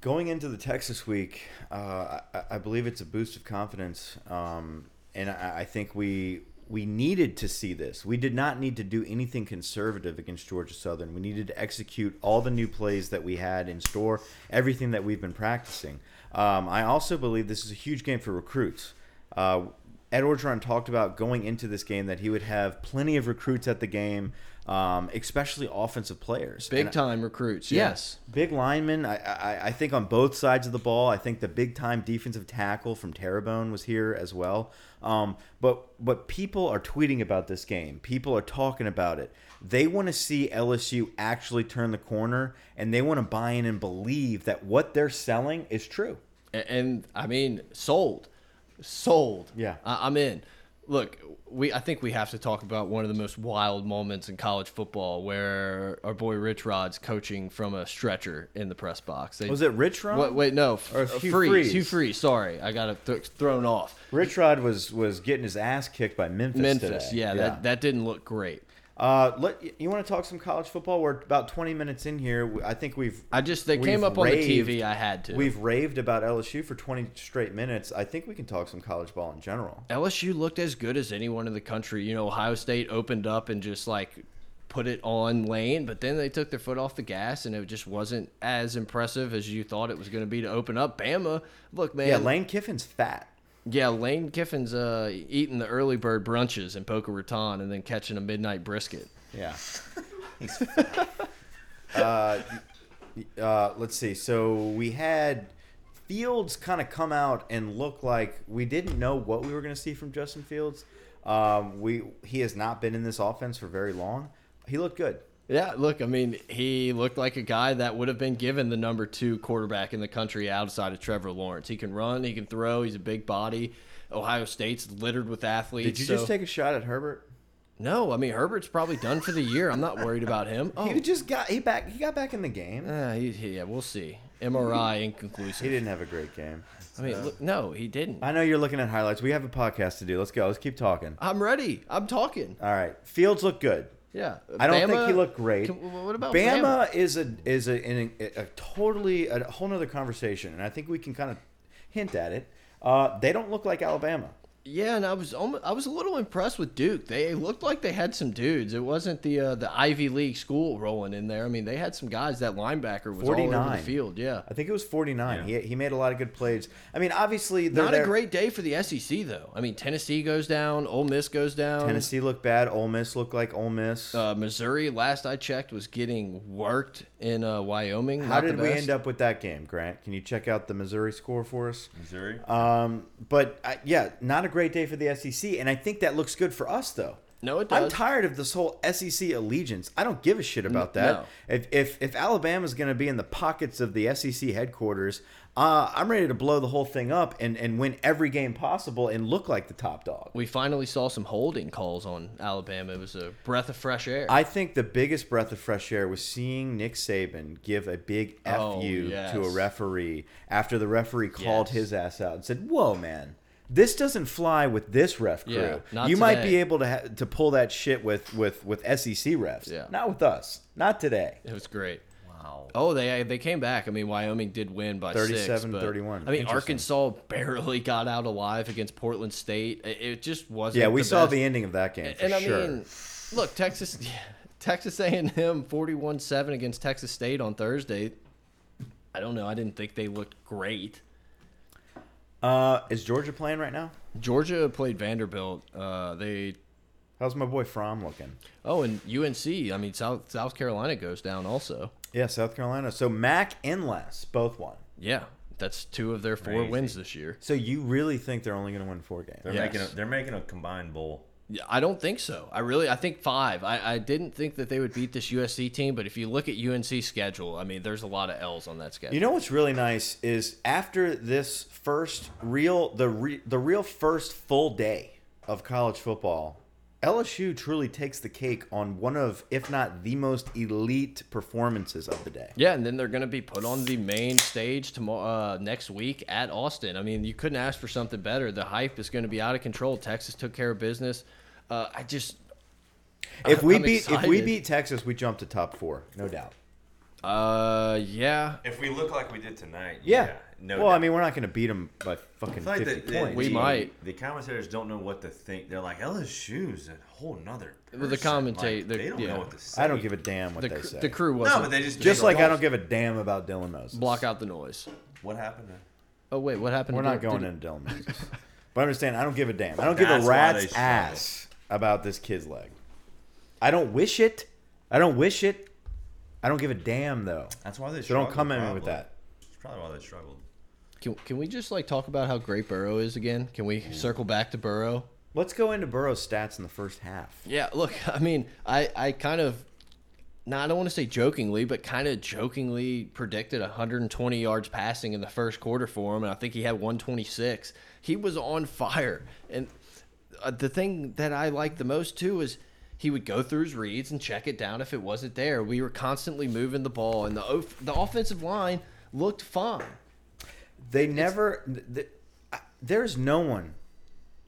Speaker 2: Going into the Texas week, uh, I, I believe it's a boost of confidence, um, and I, I think we we needed to see this. We did not need to do anything conservative against Georgia Southern. We needed to execute all the new plays that we had in store, everything that we've been practicing. Um, I also believe this is a huge game for recruits. Uh, Ed Orgeron talked about going into this game that he would have plenty of recruits at the game, um, especially offensive players.
Speaker 1: Big
Speaker 2: And-
Speaker 1: time recruits. Yes.
Speaker 2: Big linemen, I, I, I think on both sides of the ball. I think the big time defensive tackle from Terrebonne was here as well. Um, but but people are tweeting about this game. People are talking about it. They want to see LSU actually turn the corner, and they want to buy in and believe that what they're selling is true.
Speaker 1: and, and I mean, sold, sold.
Speaker 2: Yeah.
Speaker 1: I, I'm in. Look, we I think we have to talk about one of the most wild moments in college football, where our boy Rich Rod's coaching from a stretcher in the press box. They,
Speaker 2: Was it Rich Rod?
Speaker 1: Wait, wait, no,
Speaker 2: Or
Speaker 1: or
Speaker 2: Hugh
Speaker 1: Hugh
Speaker 2: Freeze.
Speaker 1: Freeze. Hugh Freeze. Sorry, I got it th thrown off.
Speaker 2: Rich Rod was was getting his ass kicked by Memphis.
Speaker 1: Memphis.
Speaker 2: today.
Speaker 1: Yeah, That, that didn't look great.
Speaker 2: Uh, let, you want to talk some college football? We're about twenty minutes in here. I think we've.
Speaker 1: I just they
Speaker 2: we've
Speaker 1: came up on the
Speaker 2: raved-
Speaker 1: TV. I had to.
Speaker 2: We've raved about LSU for 20 straight minutes. I think we can talk some college ball in general.
Speaker 1: LSU looked as good as anyone in the country. You know, Ohio State opened up and just like put it on lane, but then they took their foot off the gas and it just wasn't as impressive as you thought it was going to be to open up. Bama, look, man.
Speaker 2: Yeah, Lane Kiffin's fat.
Speaker 1: yeah, Lane Kiffin's uh, eating the early bird brunches in Boca Raton and then catching a midnight brisket.
Speaker 2: *laughs* Yeah. uh, uh, let's see. So we had Fields kind of come out and look like we didn't know what we were going to see from Justin Fields. Um, we he has not been in this offense for very long. He looked good.
Speaker 1: Yeah, look, I mean, he looked like a guy that would have been given the number two quarterback in the country outside of Trevor Lawrence. He can run, he can throw, he's a big body. Ohio State's littered with athletes.
Speaker 2: Did you
Speaker 1: so-
Speaker 2: just take a shot at Herbert?
Speaker 1: No, I mean Herbert's probably done for the year. I'm not worried about him. Oh,
Speaker 2: *laughs* He just got he back he got back in the game.
Speaker 1: uh, he, he- yeah, we'll see. MRI inconclusive.
Speaker 2: He didn't have a great game.
Speaker 1: I
Speaker 2: uh,
Speaker 1: mean, look, no, he didn't.
Speaker 2: I know you're looking at highlights. We have a podcast to do. Let's go. Let's keep talking.
Speaker 1: I'm ready. I'm talking.
Speaker 2: All right. Fields look good.
Speaker 1: Yeah,
Speaker 2: I don't think
Speaker 1: Bama-
Speaker 2: he looked great.
Speaker 1: Can- what about
Speaker 2: Bama? is a is a, in a, a totally a whole nother conversation, and I think we can kind of hint at it. Uh, they don't look like Alabama.
Speaker 1: Yeah, and I was almost, I was a little impressed with Duke. They looked like they had some dudes. It wasn't the uh, the Ivy League school rolling in there. I mean, they had some guys. That linebacker was all over
Speaker 2: 49.
Speaker 1: the field. Yeah,
Speaker 2: I think it was 49.
Speaker 3: Yeah.
Speaker 2: He, he made a lot of good plays. I mean, obviously, they're
Speaker 1: not
Speaker 2: there-
Speaker 1: a great day for the SEC though. I mean, Tennessee goes down. Ole Miss goes down.
Speaker 2: *laughs* Tennessee looked bad. Ole Miss looked like Ole Miss.
Speaker 1: Uh, Missouri, last I checked, was getting worked in uh, Wyoming.
Speaker 2: How did we end up with that game, Grant? Can you check out the Missouri score for us?
Speaker 3: Missouri?
Speaker 2: Um, but uh, yeah, not a great day for the SEC, and I think that looks good for us though.
Speaker 1: No, it
Speaker 2: I'm
Speaker 1: does.
Speaker 2: tired of this whole SEC allegiance. I don't give a shit about
Speaker 1: N-
Speaker 2: that.
Speaker 1: no.
Speaker 2: If if if Alabama's going to be in the pockets of the SEC headquarters, uh, I'm ready to blow the whole thing up and and win every game possible and look like the top dog.
Speaker 1: We finally saw some holding calls on Alabama. It was a breath of fresh air.
Speaker 2: I think the biggest breath of fresh air was seeing Nick Saban give a big F
Speaker 1: Oh,
Speaker 2: you
Speaker 1: yes.
Speaker 2: to a referee after the referee called
Speaker 1: Yes.
Speaker 2: his ass out and said, Whoa, man, this doesn't fly with this ref crew.
Speaker 1: Yeah, not
Speaker 2: you might
Speaker 1: today."
Speaker 2: be able to, ha- to pull that shit with, with, with SEC refs.
Speaker 1: Yeah.
Speaker 2: Not with us. Not today.
Speaker 1: it was great.
Speaker 3: wow.
Speaker 1: Oh, they they came back. I mean, Wyoming did win by
Speaker 2: 37,
Speaker 1: six, but,
Speaker 2: 31.
Speaker 1: I mean,
Speaker 2: Interesting.
Speaker 1: Arkansas *laughs* barely got out alive against Portland State. It, it just wasn't.
Speaker 2: Yeah, we
Speaker 1: the
Speaker 2: saw
Speaker 1: best.
Speaker 2: the ending of that game. For
Speaker 1: and I
Speaker 2: sure.
Speaker 1: mean, look, Texas, *laughs* Texas A&M 41-7 against Texas State on Thursday. I don't know. I didn't think they looked great.
Speaker 2: uh, is Georgia playing right now?
Speaker 1: Georgia played Vanderbilt. Uh, they
Speaker 2: How's my boy Fromm looking?
Speaker 1: oh, and UNC. I mean, South South Carolina goes down also.
Speaker 2: Yeah, South Carolina. So Mac and Les both won.
Speaker 1: Yeah, that's two of their four
Speaker 3: Crazy.
Speaker 1: wins this year.
Speaker 2: So you really think they're only going to win four games?
Speaker 3: They're,
Speaker 1: yes.
Speaker 3: making a, they're making a combined bowl.
Speaker 1: Yeah, I don't think so. I really, I think five. I, I didn't think that they would beat this USC team, but if you look at UNC's schedule, I mean, there's a lot of L's on that schedule.
Speaker 2: You know what's really nice is after this first real the re, the real first full day of college football LSU truly takes the cake on one of, if not the most elite performances of the day.
Speaker 1: *laughs* Yeah, and then they're going to be put on the main stage tomorrow uh, next week at Austin. I mean, you couldn't ask for something better. The hype is going to be out of control. Texas took care of business. Uh, I just
Speaker 2: If we
Speaker 1: I'm
Speaker 2: beat if we
Speaker 1: excited.
Speaker 2: beat Texas, we jump to top four, no doubt.
Speaker 1: uh yeah,
Speaker 3: If we look like we did tonight,
Speaker 2: Yeah.
Speaker 3: yeah, no.
Speaker 2: well, I
Speaker 3: doubt.
Speaker 2: mean, we're not going to beat them by fucking
Speaker 3: It's like
Speaker 2: fifty
Speaker 3: the-
Speaker 2: points.
Speaker 1: We
Speaker 3: the-
Speaker 1: might.
Speaker 3: The commentators don't know what to think. They're like, LSU's a whole nother.
Speaker 1: Well, the
Speaker 3: person." Like,
Speaker 1: commentate- the-
Speaker 3: they don't
Speaker 1: yeah.
Speaker 3: know what to say.
Speaker 2: I don't give a damn what
Speaker 1: the,
Speaker 2: they
Speaker 1: cr-
Speaker 2: say.
Speaker 1: the crew was
Speaker 3: No, but they just
Speaker 2: Just
Speaker 3: they
Speaker 2: like I don't give a damn about Dylan Moses.
Speaker 1: block out the noise.
Speaker 3: What happened? To,
Speaker 1: Oh wait, what happened?
Speaker 2: We're
Speaker 1: to
Speaker 2: not
Speaker 1: Dylan?
Speaker 2: going
Speaker 1: Did-
Speaker 2: into Dylan Moses. *laughs* but understand, I don't give a damn. I don't give
Speaker 3: That's
Speaker 2: a
Speaker 3: why they
Speaker 2: rat's
Speaker 3: struggle.
Speaker 2: ass about this kid's leg. I don't wish it. I don't wish it. I don't give a damn though.
Speaker 3: that's why they.
Speaker 2: So don't
Speaker 3: struggled,
Speaker 2: come at me with
Speaker 3: probably.
Speaker 2: that.
Speaker 3: It's probably why they struggled.
Speaker 1: Can, can we just like talk about how great Burrow is again? Can we circle back to Burrow?
Speaker 2: Let's go into Burrow's stats in the first half.
Speaker 1: Yeah, look, *laughs* I mean, I, I kind of, no, I don't want to say jokingly, but kind of jokingly predicted 120 yards passing in the first quarter for him, and I think he had 126. He was on fire, and uh, the thing that I liked the most too is he would go through his reads and check it down if it wasn't there. We were constantly moving the ball, and the of- the offensive line looked fine.
Speaker 2: They never. th- th- I- there's no one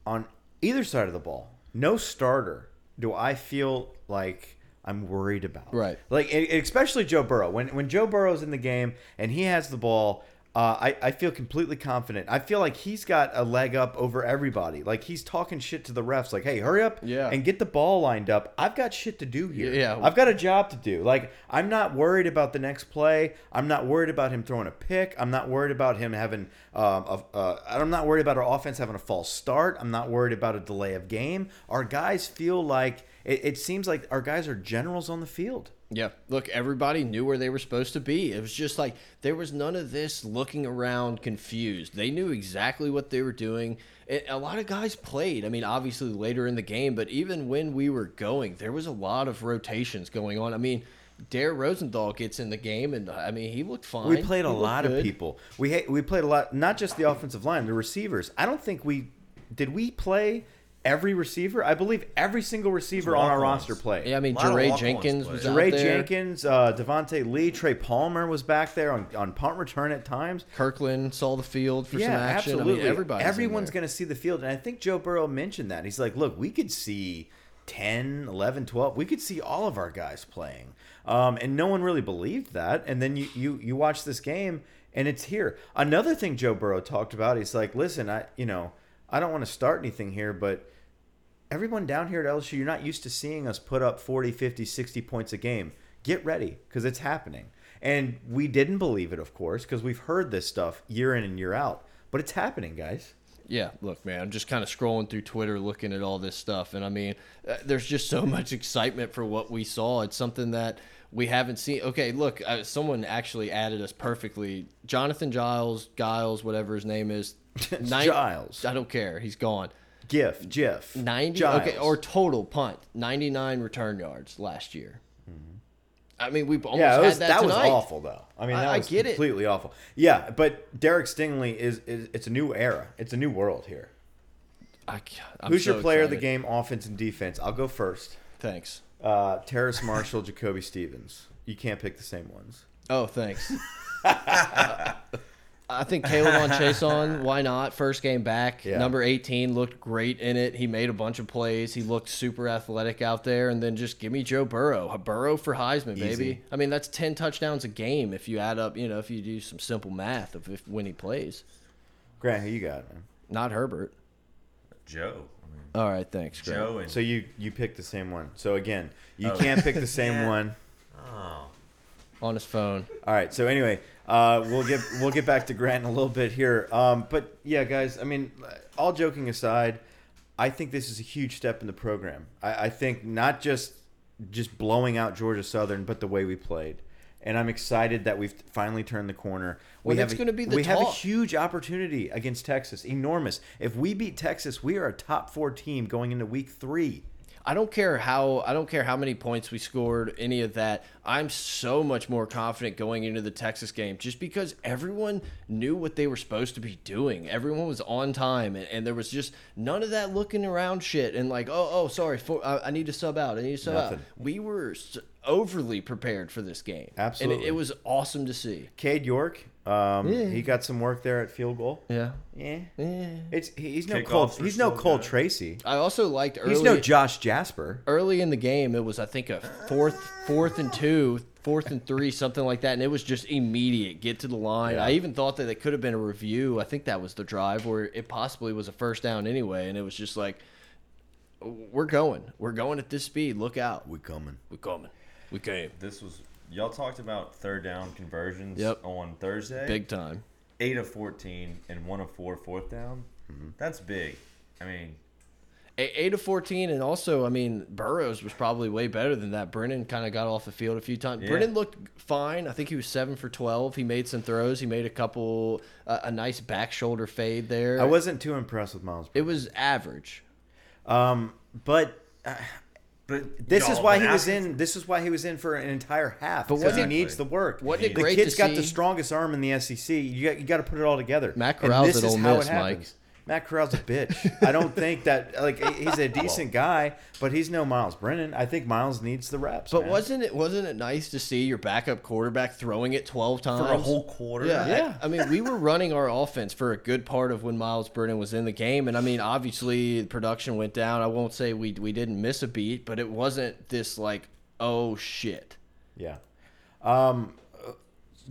Speaker 2: on either side of the ball. No starter do I feel like I'm worried about.
Speaker 1: Right.
Speaker 2: Like and- and especially Joe Burrow. When when Joe Burrow's in the game and he has the ball, uh, I I feel completely confident. I feel like he's got a leg up over everybody. Like he's talking shit to the refs. Like, hey, hurry up
Speaker 1: Yeah.
Speaker 2: and get the ball lined up. I've got shit to do here.
Speaker 1: Yeah.
Speaker 2: I've got a job to do. Like, I'm not worried about the next play. I'm not worried about him throwing a pick. I'm not worried about him having. Um, a, uh, I'm not worried about our offense having a false start. I'm not worried about a delay of game. Our guys feel like it, it seems like our guys are generals on the field.
Speaker 1: Yeah. Look, everybody knew where they were supposed to be. It was just like there was none of this looking around confused. They knew exactly what they were doing. And a lot of guys played. I mean, obviously later in the game, but even when we were going, there was a lot of rotations going on. I mean, Dare Rosenthal gets in the game, and I mean, he looked fine.
Speaker 2: We played a
Speaker 1: He looked
Speaker 2: lot of
Speaker 1: good.
Speaker 2: people. We ha- we played a lot, not just the offensive line, the receivers. I don't think we did. We play every receiver. I believe every single receiver on our
Speaker 3: walk-ons.
Speaker 2: roster played.
Speaker 1: Yeah, I mean,
Speaker 3: A lot of
Speaker 1: Jeray
Speaker 3: walk-ons
Speaker 1: Jenkins
Speaker 3: played.
Speaker 1: was out
Speaker 2: Ray
Speaker 1: there.
Speaker 2: Jenkins, uh, Devontae Lee, Trey Palmer was back there on, on punt return at times.
Speaker 1: Kirkland saw the field for some action. I mean, everybody's in
Speaker 2: Everyone's
Speaker 1: there.
Speaker 2: going to see the field. And I think Joe Burrow mentioned that. He's like, look, we could see 10, 11, 12. We could see all of our guys playing. Um, and no one really believed that. And then you, you, you watch this game and it's here. Another thing Joe Burrow talked about, he's like, listen, I, you know, I don't want to start anything here, but everyone down here at LSU, you're not used to seeing us put up 40, 50, 60 points a game. Get ready because it's happening. And we didn't believe it, of course, because we've heard this stuff year in and year out. But it's happening, guys.
Speaker 1: Yeah, look, man, I'm just kind of scrolling through Twitter looking at all this stuff. And I mean, uh, there's just so *laughs* much excitement for what we saw. It's something that we haven't seen. Okay, look, uh, someone actually added us perfectly. Jonathan Giles, Giles, whatever his name
Speaker 2: *laughs*
Speaker 1: is. nine-
Speaker 2: Giles.
Speaker 1: I don't care. He's gone.
Speaker 2: GIF, GIF.
Speaker 1: 90 okay or total punt 99 return yards last year i mean we almost
Speaker 2: Mm-hmm. yeah, it was,
Speaker 1: had that,
Speaker 2: that, was
Speaker 1: tonight.
Speaker 2: awful, though. I mean,
Speaker 1: I-
Speaker 2: that
Speaker 1: I
Speaker 2: was
Speaker 1: get it.
Speaker 2: completely awful. Yeah, but Derek Stingley is, is it's a new era. It's a new world here.
Speaker 1: I, am
Speaker 2: Who's your player of the game, offense and defense? I'll go first.
Speaker 1: thanks
Speaker 2: Uh, Terrace Marshall, *laughs* Jacoby Stevens. You can't pick the same ones.
Speaker 1: Oh, thanks. *laughs* Uh, I think Caleb on Chase on. Why not? First game back.
Speaker 2: Yeah.
Speaker 1: Number 18 looked great in it. He made a bunch of plays. He looked super athletic out there. And then just give me Joe Burrow. A Burrow for Heisman, baby.
Speaker 2: Easy.
Speaker 1: I mean, that's 10 touchdowns a game if you add up, you know, if you do some simple math of if, when he plays.
Speaker 2: Grant, who you got, man?
Speaker 1: Not Herbert.
Speaker 3: Joe. I mean,
Speaker 1: All right, thanks, Greg.
Speaker 3: Joe and
Speaker 2: So you you picked the same one. So again, you
Speaker 3: Oh.
Speaker 2: can't
Speaker 1: *laughs*
Speaker 2: pick the same
Speaker 3: Yeah.
Speaker 2: one.
Speaker 3: oh,
Speaker 1: On his phone.
Speaker 2: All right. So anyway, uh, we'll get we'll get back to Grant in a little bit here. Um, but yeah, guys. I mean, all joking aside, I think this is a huge step in the program. I, I think not just just blowing out Georgia Southern, but the way we played. And I'm excited that we've finally turned the corner.
Speaker 1: Well,
Speaker 2: we
Speaker 1: that's
Speaker 2: have a-
Speaker 1: gonna be the
Speaker 2: we have a
Speaker 1: talk.
Speaker 2: huge opportunity against Texas, enormous. If we beat Texas, we are a top four team going into week three.
Speaker 1: I don't care how I don't care how many points we scored, any of that. I'm so much more confident going into the Texas game just because everyone knew what they were supposed to be doing. Everyone was on time, and, and there was just none of that looking around shit and like, oh, oh, sorry, for, I, I need to sub out. I need to sub out.
Speaker 2: Nothing.
Speaker 1: We were s- overly prepared for this game, and
Speaker 2: Absolutely.
Speaker 1: it, it was awesome to see.
Speaker 2: Cade York, um, he got some work there at field goal.
Speaker 1: Yeah.
Speaker 2: Yeah,
Speaker 1: Yeah.
Speaker 2: it's he- he's no
Speaker 3: Kickoffs
Speaker 2: Cole.
Speaker 3: were
Speaker 2: He's no
Speaker 3: still
Speaker 2: Cole
Speaker 3: good.
Speaker 2: Tracy.
Speaker 1: Eh. I also liked early.
Speaker 2: He's no Josh Jasper.
Speaker 1: early in the game it was i think a fourth fourth and two fourth and three something like that and it was just immediate get to the line i even thought that it could have been a review i think that was the drive where it possibly was a first down anyway and it was just like we're going we're going at this speed look out
Speaker 2: We coming.
Speaker 1: we're coming we came
Speaker 3: This was y'all talked about third down conversions
Speaker 1: Yep.
Speaker 3: on Thursday.
Speaker 1: big time
Speaker 3: Eight of fourteen and one of four fourth down.
Speaker 2: Mm-hmm.
Speaker 3: That's big. I mean,
Speaker 1: A- 8 to 14 and also i mean burrows was probably way better than that brennan kind of got off the field a few times
Speaker 3: Yeah.
Speaker 1: brennan looked fine i think he was 7 for 12 he made some throws he made a couple uh, a nice back shoulder fade there
Speaker 2: I wasn't too impressed with Miles.
Speaker 1: it was average
Speaker 2: Um, but
Speaker 3: but
Speaker 2: This is
Speaker 3: y'all,
Speaker 2: why
Speaker 3: when
Speaker 2: he was
Speaker 3: Athens-
Speaker 2: in. This is why he was in for an entire half.
Speaker 1: But
Speaker 2: because he
Speaker 1: wasn't it-
Speaker 2: needs the work.
Speaker 1: wasn't it
Speaker 2: the
Speaker 1: great
Speaker 2: kid's
Speaker 1: to
Speaker 2: got the
Speaker 1: see-
Speaker 2: strongest arm in the SEC. You got, you got to put it all together.
Speaker 1: Matt
Speaker 2: And
Speaker 1: Corral's
Speaker 2: this
Speaker 1: at
Speaker 2: is
Speaker 1: Ole
Speaker 2: how
Speaker 1: Miss,
Speaker 2: it
Speaker 1: Mike.
Speaker 2: happens. Matt Corral's a bitch. I don't think that like he- *laughs* he's a decent guy, but he's no Miles Brennan. I think Miles needs the reps.
Speaker 1: but
Speaker 2: man.
Speaker 1: wasn't it wasn't it nice to see your backup quarterback throwing it 12 times
Speaker 3: for a whole quarter.
Speaker 1: Yeah,
Speaker 2: Yeah.
Speaker 1: I, I mean, we were running our offense for a good part of when Miles Brennan was in the game, and I mean, obviously the production went down. I won't say we we didn't miss a beat, but it wasn't this like oh shit.
Speaker 2: Yeah. Um, uh,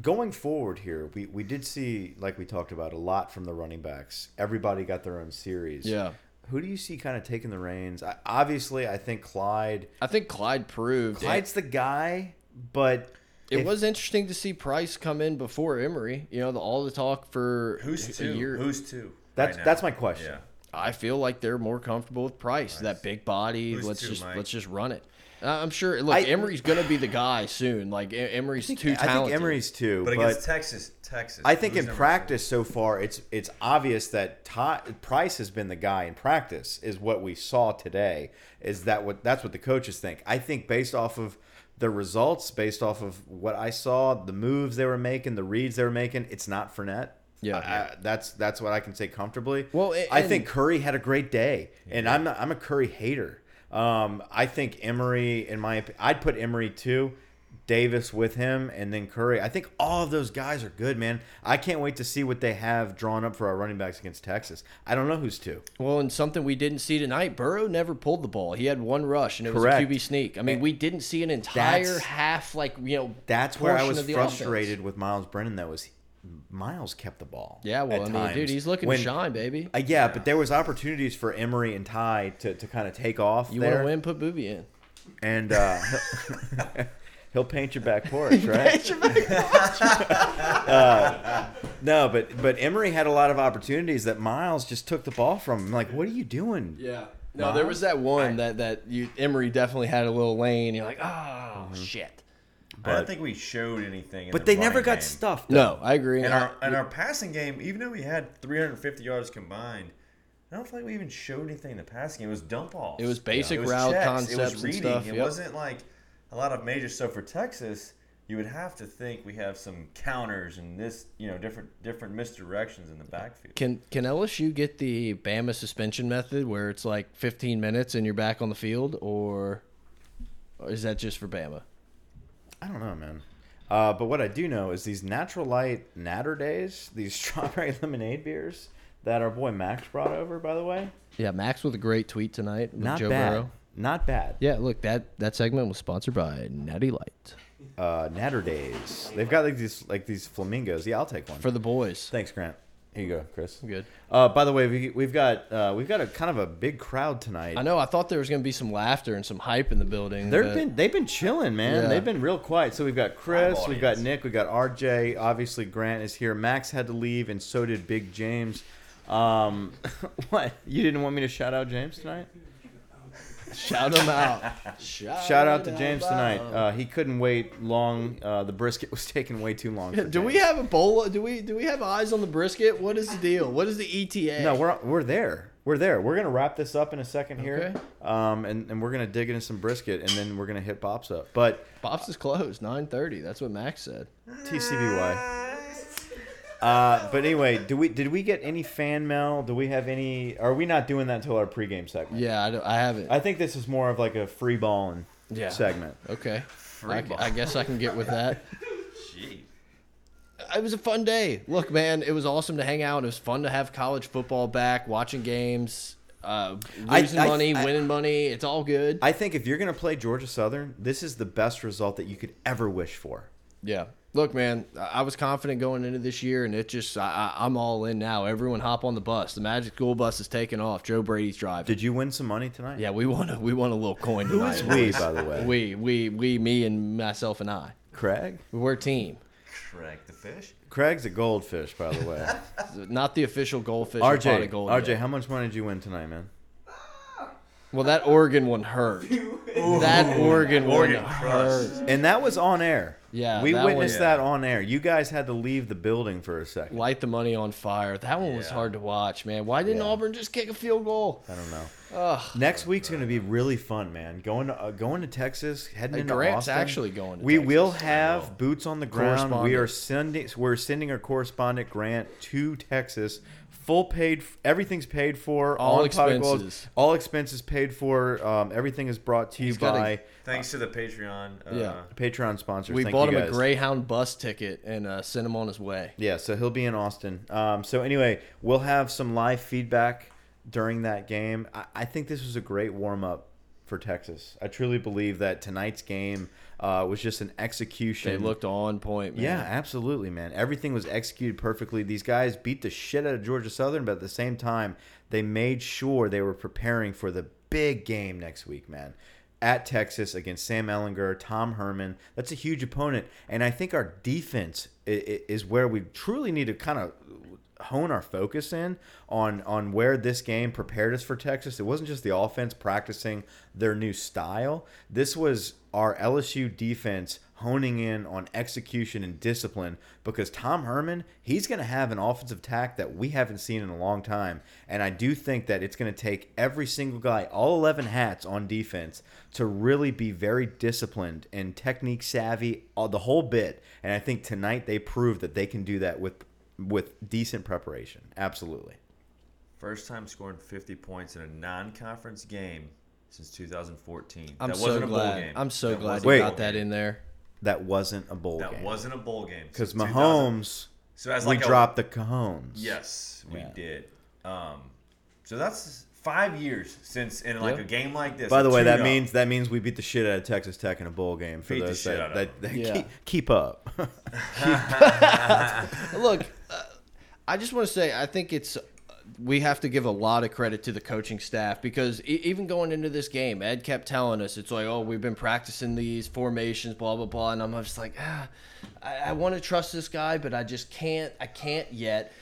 Speaker 2: going forward here, we, we did see, like we talked about, a lot from the running backs. Everybody got their own series.
Speaker 1: Yeah.
Speaker 2: Who do you see kind of taking the reins? I, obviously, I think Clyde.
Speaker 1: I think Clyde proved it.
Speaker 2: Clyde's the guy, but
Speaker 1: It
Speaker 2: if-
Speaker 1: was interesting to see Price come in before Emery. You know, the, all the talk for
Speaker 3: Who's
Speaker 1: a
Speaker 3: two?
Speaker 1: year.
Speaker 3: Who's two?
Speaker 2: That's-
Speaker 3: now?
Speaker 2: that's my question.
Speaker 3: Yeah.
Speaker 1: I feel like they're more comfortable with Price. That big body.
Speaker 3: Who's
Speaker 1: let's
Speaker 3: two,
Speaker 1: just
Speaker 3: Mike?
Speaker 1: let's just run it. Uh, I'm sure. Look,
Speaker 2: I-
Speaker 1: Emery's gonna be the guy soon. Like E- Emery's too talented.
Speaker 2: I think Emery's too.
Speaker 3: But
Speaker 2: But,
Speaker 3: against Texas, Texas.
Speaker 2: I think
Speaker 3: who's
Speaker 2: in
Speaker 3: number-
Speaker 2: practice so far, it's it's obvious that Todd, Price has been the guy in practice. Is what we saw today. Is that what that's what the coaches think? I think based off of the results, based off of what I saw, the moves they were making, the reads they were making, it's not Fournette.
Speaker 1: Yeah.
Speaker 2: I- I- that's that's what I can say comfortably.
Speaker 1: Well, a-
Speaker 2: I
Speaker 1: and-
Speaker 2: think Curry had a great day, and I'm not, I'm a Curry hater. Um, I think Emery, in my opinion, I'd put Emery too. Davis with him, and then Curry. I think all of those guys are good, man. I can't wait to see what they have drawn up for our running backs against Texas. I don't know who's two.
Speaker 1: Well, and something we didn't see tonight, Burrow never pulled the ball. He had one rush, and it
Speaker 2: Correct.
Speaker 1: was a QB sneak. I mean, we didn't see an entire
Speaker 2: That's-
Speaker 1: half, like you know.
Speaker 2: That's where I
Speaker 1: portion
Speaker 2: was
Speaker 1: of the
Speaker 2: frustrated
Speaker 1: offense.
Speaker 2: with Miles Brennan. Though is Miles kept the ball.
Speaker 1: Yeah, well, I
Speaker 2: at
Speaker 1: mean,
Speaker 2: times.
Speaker 1: dude, he's looking
Speaker 2: When-
Speaker 1: to shine, baby.
Speaker 2: Uh, yeah, but there was opportunities for Emery and Ty to, to kind of take off.
Speaker 1: You want
Speaker 2: there.
Speaker 1: to win? Put Booby in. *laughs*
Speaker 2: and uh, he'll *laughs* paint your back porch, right? *laughs* Uh, no, but but Emery had a lot of opportunities that Miles just took the ball from. him. like, what are you doing?
Speaker 1: Yeah. No, there was that one that that you Emery definitely had a little lane. You're like, oh shit.
Speaker 3: I
Speaker 2: But-
Speaker 3: don't think we showed anything. In
Speaker 2: But
Speaker 3: the
Speaker 2: they never
Speaker 3: running
Speaker 2: got
Speaker 3: game.
Speaker 2: stuffed.
Speaker 1: No, I agree.
Speaker 3: And
Speaker 1: I-
Speaker 3: our and our passing game, even though we had 350 yards combined, I don't feel like we even showed anything in the passing game. It was dump offs.
Speaker 1: It was basic route
Speaker 3: It
Speaker 1: concepts and
Speaker 3: was reading.
Speaker 1: stuff,
Speaker 3: It
Speaker 1: yep.
Speaker 3: wasn't like a lot of major stuff for Texas. You would have to think we have some counters and this, you know, different different misdirections in the backfield.
Speaker 1: Can can LSU get the Bama suspension method where it's like 15 minutes and you're back on the field, or, or is that just for Bama?
Speaker 2: I don't know, man. Uh, but what I do know is these natural light natter days, these *laughs* strawberry lemonade beers that our boy Max brought over. By the way,
Speaker 1: Yeah, Max with a great tweet tonight with
Speaker 2: not
Speaker 1: Joe
Speaker 2: bad,
Speaker 1: Burrow.
Speaker 2: not bad.
Speaker 1: Yeah, look that that segment was sponsored by Natty Light
Speaker 2: Uh, natter days. They've got like these like these flamingos. Yeah, I'll take one.
Speaker 1: for the boys.
Speaker 2: Thanks, Grant. Here you go, Chris.
Speaker 1: Good.
Speaker 2: Uh, by the way, we, we've got uh, we've got a kind of a big crowd tonight.
Speaker 1: I know. I thought there was going to be some laughter and some hype in the building.
Speaker 2: They've
Speaker 1: but
Speaker 2: been they've been chilling, man.
Speaker 1: Yeah.
Speaker 2: They've been real quiet. So we've got Chris,
Speaker 3: Live
Speaker 2: we've got
Speaker 3: audience.
Speaker 2: Nick, we got RJ. Obviously, Grant is here. Max had to leave, and so did Big James. Um, *laughs* what you didn't want me to shout out James tonight?
Speaker 1: shout them out. shout,
Speaker 2: *laughs* Shout out to James
Speaker 1: out.
Speaker 2: tonight. Uh, he couldn't wait long. Uh, the brisket *laughs* was taking way too long. for
Speaker 1: Do we
Speaker 2: James.
Speaker 1: have Ebola? Do we do we have eyes on the E brisket? What is the deal? What is the ETA?
Speaker 2: No, we're we're there. we're there. We're gonna wrap this up in a second here,
Speaker 1: Okay.
Speaker 2: um, and and we're gonna dig into some brisket, and then we're gonna hit pops up. But
Speaker 1: Pops is closed, 9:30. That's what Max said.
Speaker 2: TCBY.
Speaker 1: *laughs*
Speaker 2: Uh, but anyway, do we did we get any fan mail? Do we have any? Are we not doing that until our pregame segment?
Speaker 1: Yeah, I, don't- I haven't.
Speaker 2: I think this is more of like a free balling
Speaker 1: Yeah.
Speaker 2: segment.
Speaker 1: okay.
Speaker 3: Free
Speaker 1: I,
Speaker 3: ball.
Speaker 1: I guess I can get with that.
Speaker 3: Gee.
Speaker 1: it was a fun day. Look, man, it was awesome to hang out. It was fun to have college football back, watching games, uh,
Speaker 2: I-
Speaker 1: losing
Speaker 2: I-
Speaker 1: money,
Speaker 2: I-
Speaker 1: winning money. It's all good.
Speaker 2: I think if you're gonna play Georgia Southern, this is the best result that you could ever wish for.
Speaker 1: yeah. Look, man, I I was confident going into this year, and it just, I, I, I'm all in now. Everyone hop on the bus. The Magic School Bus is taking off. Joe Brady's driving.
Speaker 2: Did you win some money tonight?
Speaker 1: yeah, we want to, we want a little coin
Speaker 2: Who
Speaker 1: tonight.
Speaker 2: is we, by
Speaker 1: *laughs*
Speaker 2: the way?
Speaker 1: we, we, we, me, and myself and I.
Speaker 2: Craig.
Speaker 1: We're a team.
Speaker 3: Crack the fish.
Speaker 2: Craig's a goldfish, by
Speaker 1: *laughs*
Speaker 2: the way.
Speaker 1: Not the official goldfish. or pot
Speaker 2: RJ,
Speaker 1: of gold
Speaker 2: RJ,
Speaker 1: yet.
Speaker 2: how much money did you win tonight, man?
Speaker 1: Well, that Oregon one
Speaker 3: *laughs*
Speaker 1: hurt. that Oregon one
Speaker 3: Oregon
Speaker 1: hurt.
Speaker 3: crushed.
Speaker 2: And that was on air.
Speaker 1: Yeah,
Speaker 2: we
Speaker 1: that
Speaker 2: witnessed
Speaker 1: was-
Speaker 2: that on air. You guys had to leave the building for a second.
Speaker 1: light the money on fire. That one was
Speaker 3: Yeah.
Speaker 1: hard to watch, man. Why didn't
Speaker 2: Yeah.
Speaker 1: Auburn just kick a field goal?
Speaker 2: I don't know.
Speaker 1: Ugh.
Speaker 2: Next week's going to be really fun, man. Going to uh, going to Texas, heading
Speaker 1: Hey,
Speaker 2: into
Speaker 1: Grant's
Speaker 2: Austin.
Speaker 1: actually going to
Speaker 2: we
Speaker 1: Texas.
Speaker 2: will have boots on the ground. We
Speaker 1: Correspondent.
Speaker 2: are sending we're sending our correspondent Grant to Texas. Full paid, everything's paid for.
Speaker 1: All
Speaker 2: on Pot of Gold.
Speaker 1: expenses.
Speaker 2: all expenses paid for. Um, everything is brought to you
Speaker 1: got a-
Speaker 2: by
Speaker 3: Thanks to the Patreon. Uh,
Speaker 1: Yeah.
Speaker 2: Patreon sponsors.
Speaker 1: We
Speaker 2: Thank
Speaker 1: bought
Speaker 2: you
Speaker 1: him
Speaker 2: guys.
Speaker 1: a Greyhound bus ticket and uh, sent him on his way.
Speaker 2: Yeah, so he'll be in Austin. Um, so anyway, we'll have some live feedback during that game. I, I think this was a great warm up for Texas. I truly believe that tonight's game uh, was just an execution.
Speaker 1: They looked on point, man.
Speaker 2: Mm. yeah, absolutely, man. Everything was executed perfectly. These guys beat the shit out of Georgia Southern, but at the same time, they made sure they were preparing for the big game next week, man. At Texas against Sam Ellinger, Tom Herman. That's a huge opponent. And I think our defense i- i- is where we truly need to kind of hone our focus in on on where this game prepared us for Texas. It wasn't just the offense practicing their new style. This was our LSU defense honing in on execution and discipline because Tom Herman, he's going to have an offensive tack that we haven't seen in a long time. And I do think that it's going to take every single guy, all 11 hats on defense, to really be very disciplined and technique savvy, all, the whole bit. And I think tonight they proved that they can do that with with decent preparation. Absolutely.
Speaker 3: First time scoring 50 points in a non-conference game since 2014.
Speaker 1: I'm
Speaker 3: that
Speaker 1: so
Speaker 3: wasn't a bowl
Speaker 1: glad.
Speaker 3: game.
Speaker 1: I'm so
Speaker 3: That
Speaker 1: glad
Speaker 3: wasn't
Speaker 1: you
Speaker 3: a
Speaker 2: Wait.
Speaker 3: bowl
Speaker 1: got that
Speaker 3: game.
Speaker 1: in there.
Speaker 2: That wasn't a bowl
Speaker 3: That
Speaker 2: game.
Speaker 3: wasn't a bowl game.
Speaker 2: because
Speaker 3: since 2000.
Speaker 2: Mahomes,
Speaker 3: So as
Speaker 2: we
Speaker 3: like a-
Speaker 2: dropped the cajones.
Speaker 3: Yes, we
Speaker 2: Yeah.
Speaker 3: did. Um, so that's five years since in like
Speaker 1: Yeah.
Speaker 3: a game like this.
Speaker 2: By the
Speaker 3: a
Speaker 2: way, that
Speaker 3: tune-up.
Speaker 2: means that means we beat the shit out of Texas Tech in a bowl game. For
Speaker 3: Beat the
Speaker 2: those
Speaker 3: shit
Speaker 2: that,
Speaker 3: out of
Speaker 2: that, that
Speaker 1: Yeah.
Speaker 2: keep, keep up, *laughs*
Speaker 1: Look, uh, I just want to say I think it's uh, we have to give a lot of credit to the coaching staff because e even going into this game, Ed kept telling us it's like, oh, we've been practicing these formations, blah blah blah, and I'm just like, ah, I, I want to trust this guy, but I just can't, I can't yet.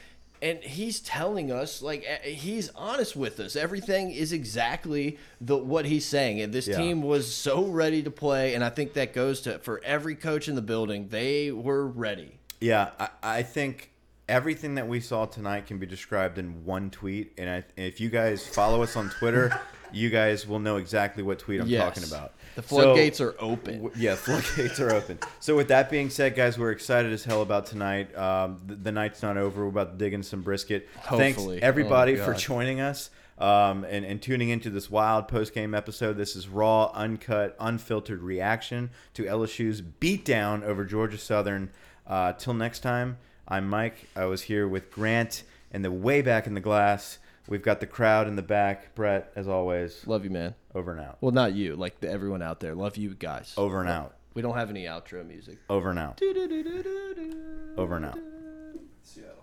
Speaker 1: And he's telling us, like, eh, he's honest with us. Everything is exactly the what he's saying. And this
Speaker 2: Yeah.
Speaker 1: team was so ready to play, and I think that goes to for every coach in the building. They were ready.
Speaker 2: yeah. I, I think everything that we saw tonight can be described in one tweet. And I, if you guys follow us on
Speaker 1: *laughs*
Speaker 2: Twitter, you guys will know exactly what tweet I'm
Speaker 1: Yes.
Speaker 2: talking about.
Speaker 1: The
Speaker 2: So-
Speaker 1: floodgates are open.
Speaker 2: W- Yeah, *laughs* floodgates are open. So with that being said, guys, we're excited as hell about tonight. Um, the, the night's not over. We're about to dig in some brisket.
Speaker 1: Hopefully.
Speaker 2: Thanks everybody
Speaker 1: Oh,
Speaker 2: for
Speaker 1: God.
Speaker 2: joining us um, and, and tuning into this wild post game episode. This is raw, uncut, unfiltered reaction to LSU's beatdown over Georgia Southern. Uh, till next time, I'm Mike. I was here with Grant and the way back in the glass. We've got the crowd in the back. Brett, as always,
Speaker 1: Love you, man.
Speaker 2: over and out.
Speaker 1: Well, not you, like the, everyone out there. Love you guys.
Speaker 2: Over and out.
Speaker 1: We don't have any outro music.
Speaker 2: Over and out. Over and out.
Speaker 3: Seattle.